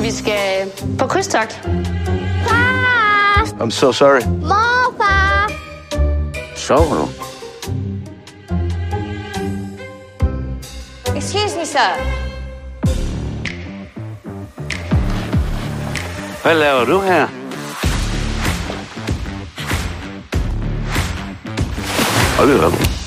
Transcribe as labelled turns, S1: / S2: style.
S1: Vi skal på krydstogt.
S2: Far!
S3: I'm so sorry.
S2: Morfar!
S3: Sover du?
S1: Excuse me, sir.
S3: Hvad laver du her? Hold da op.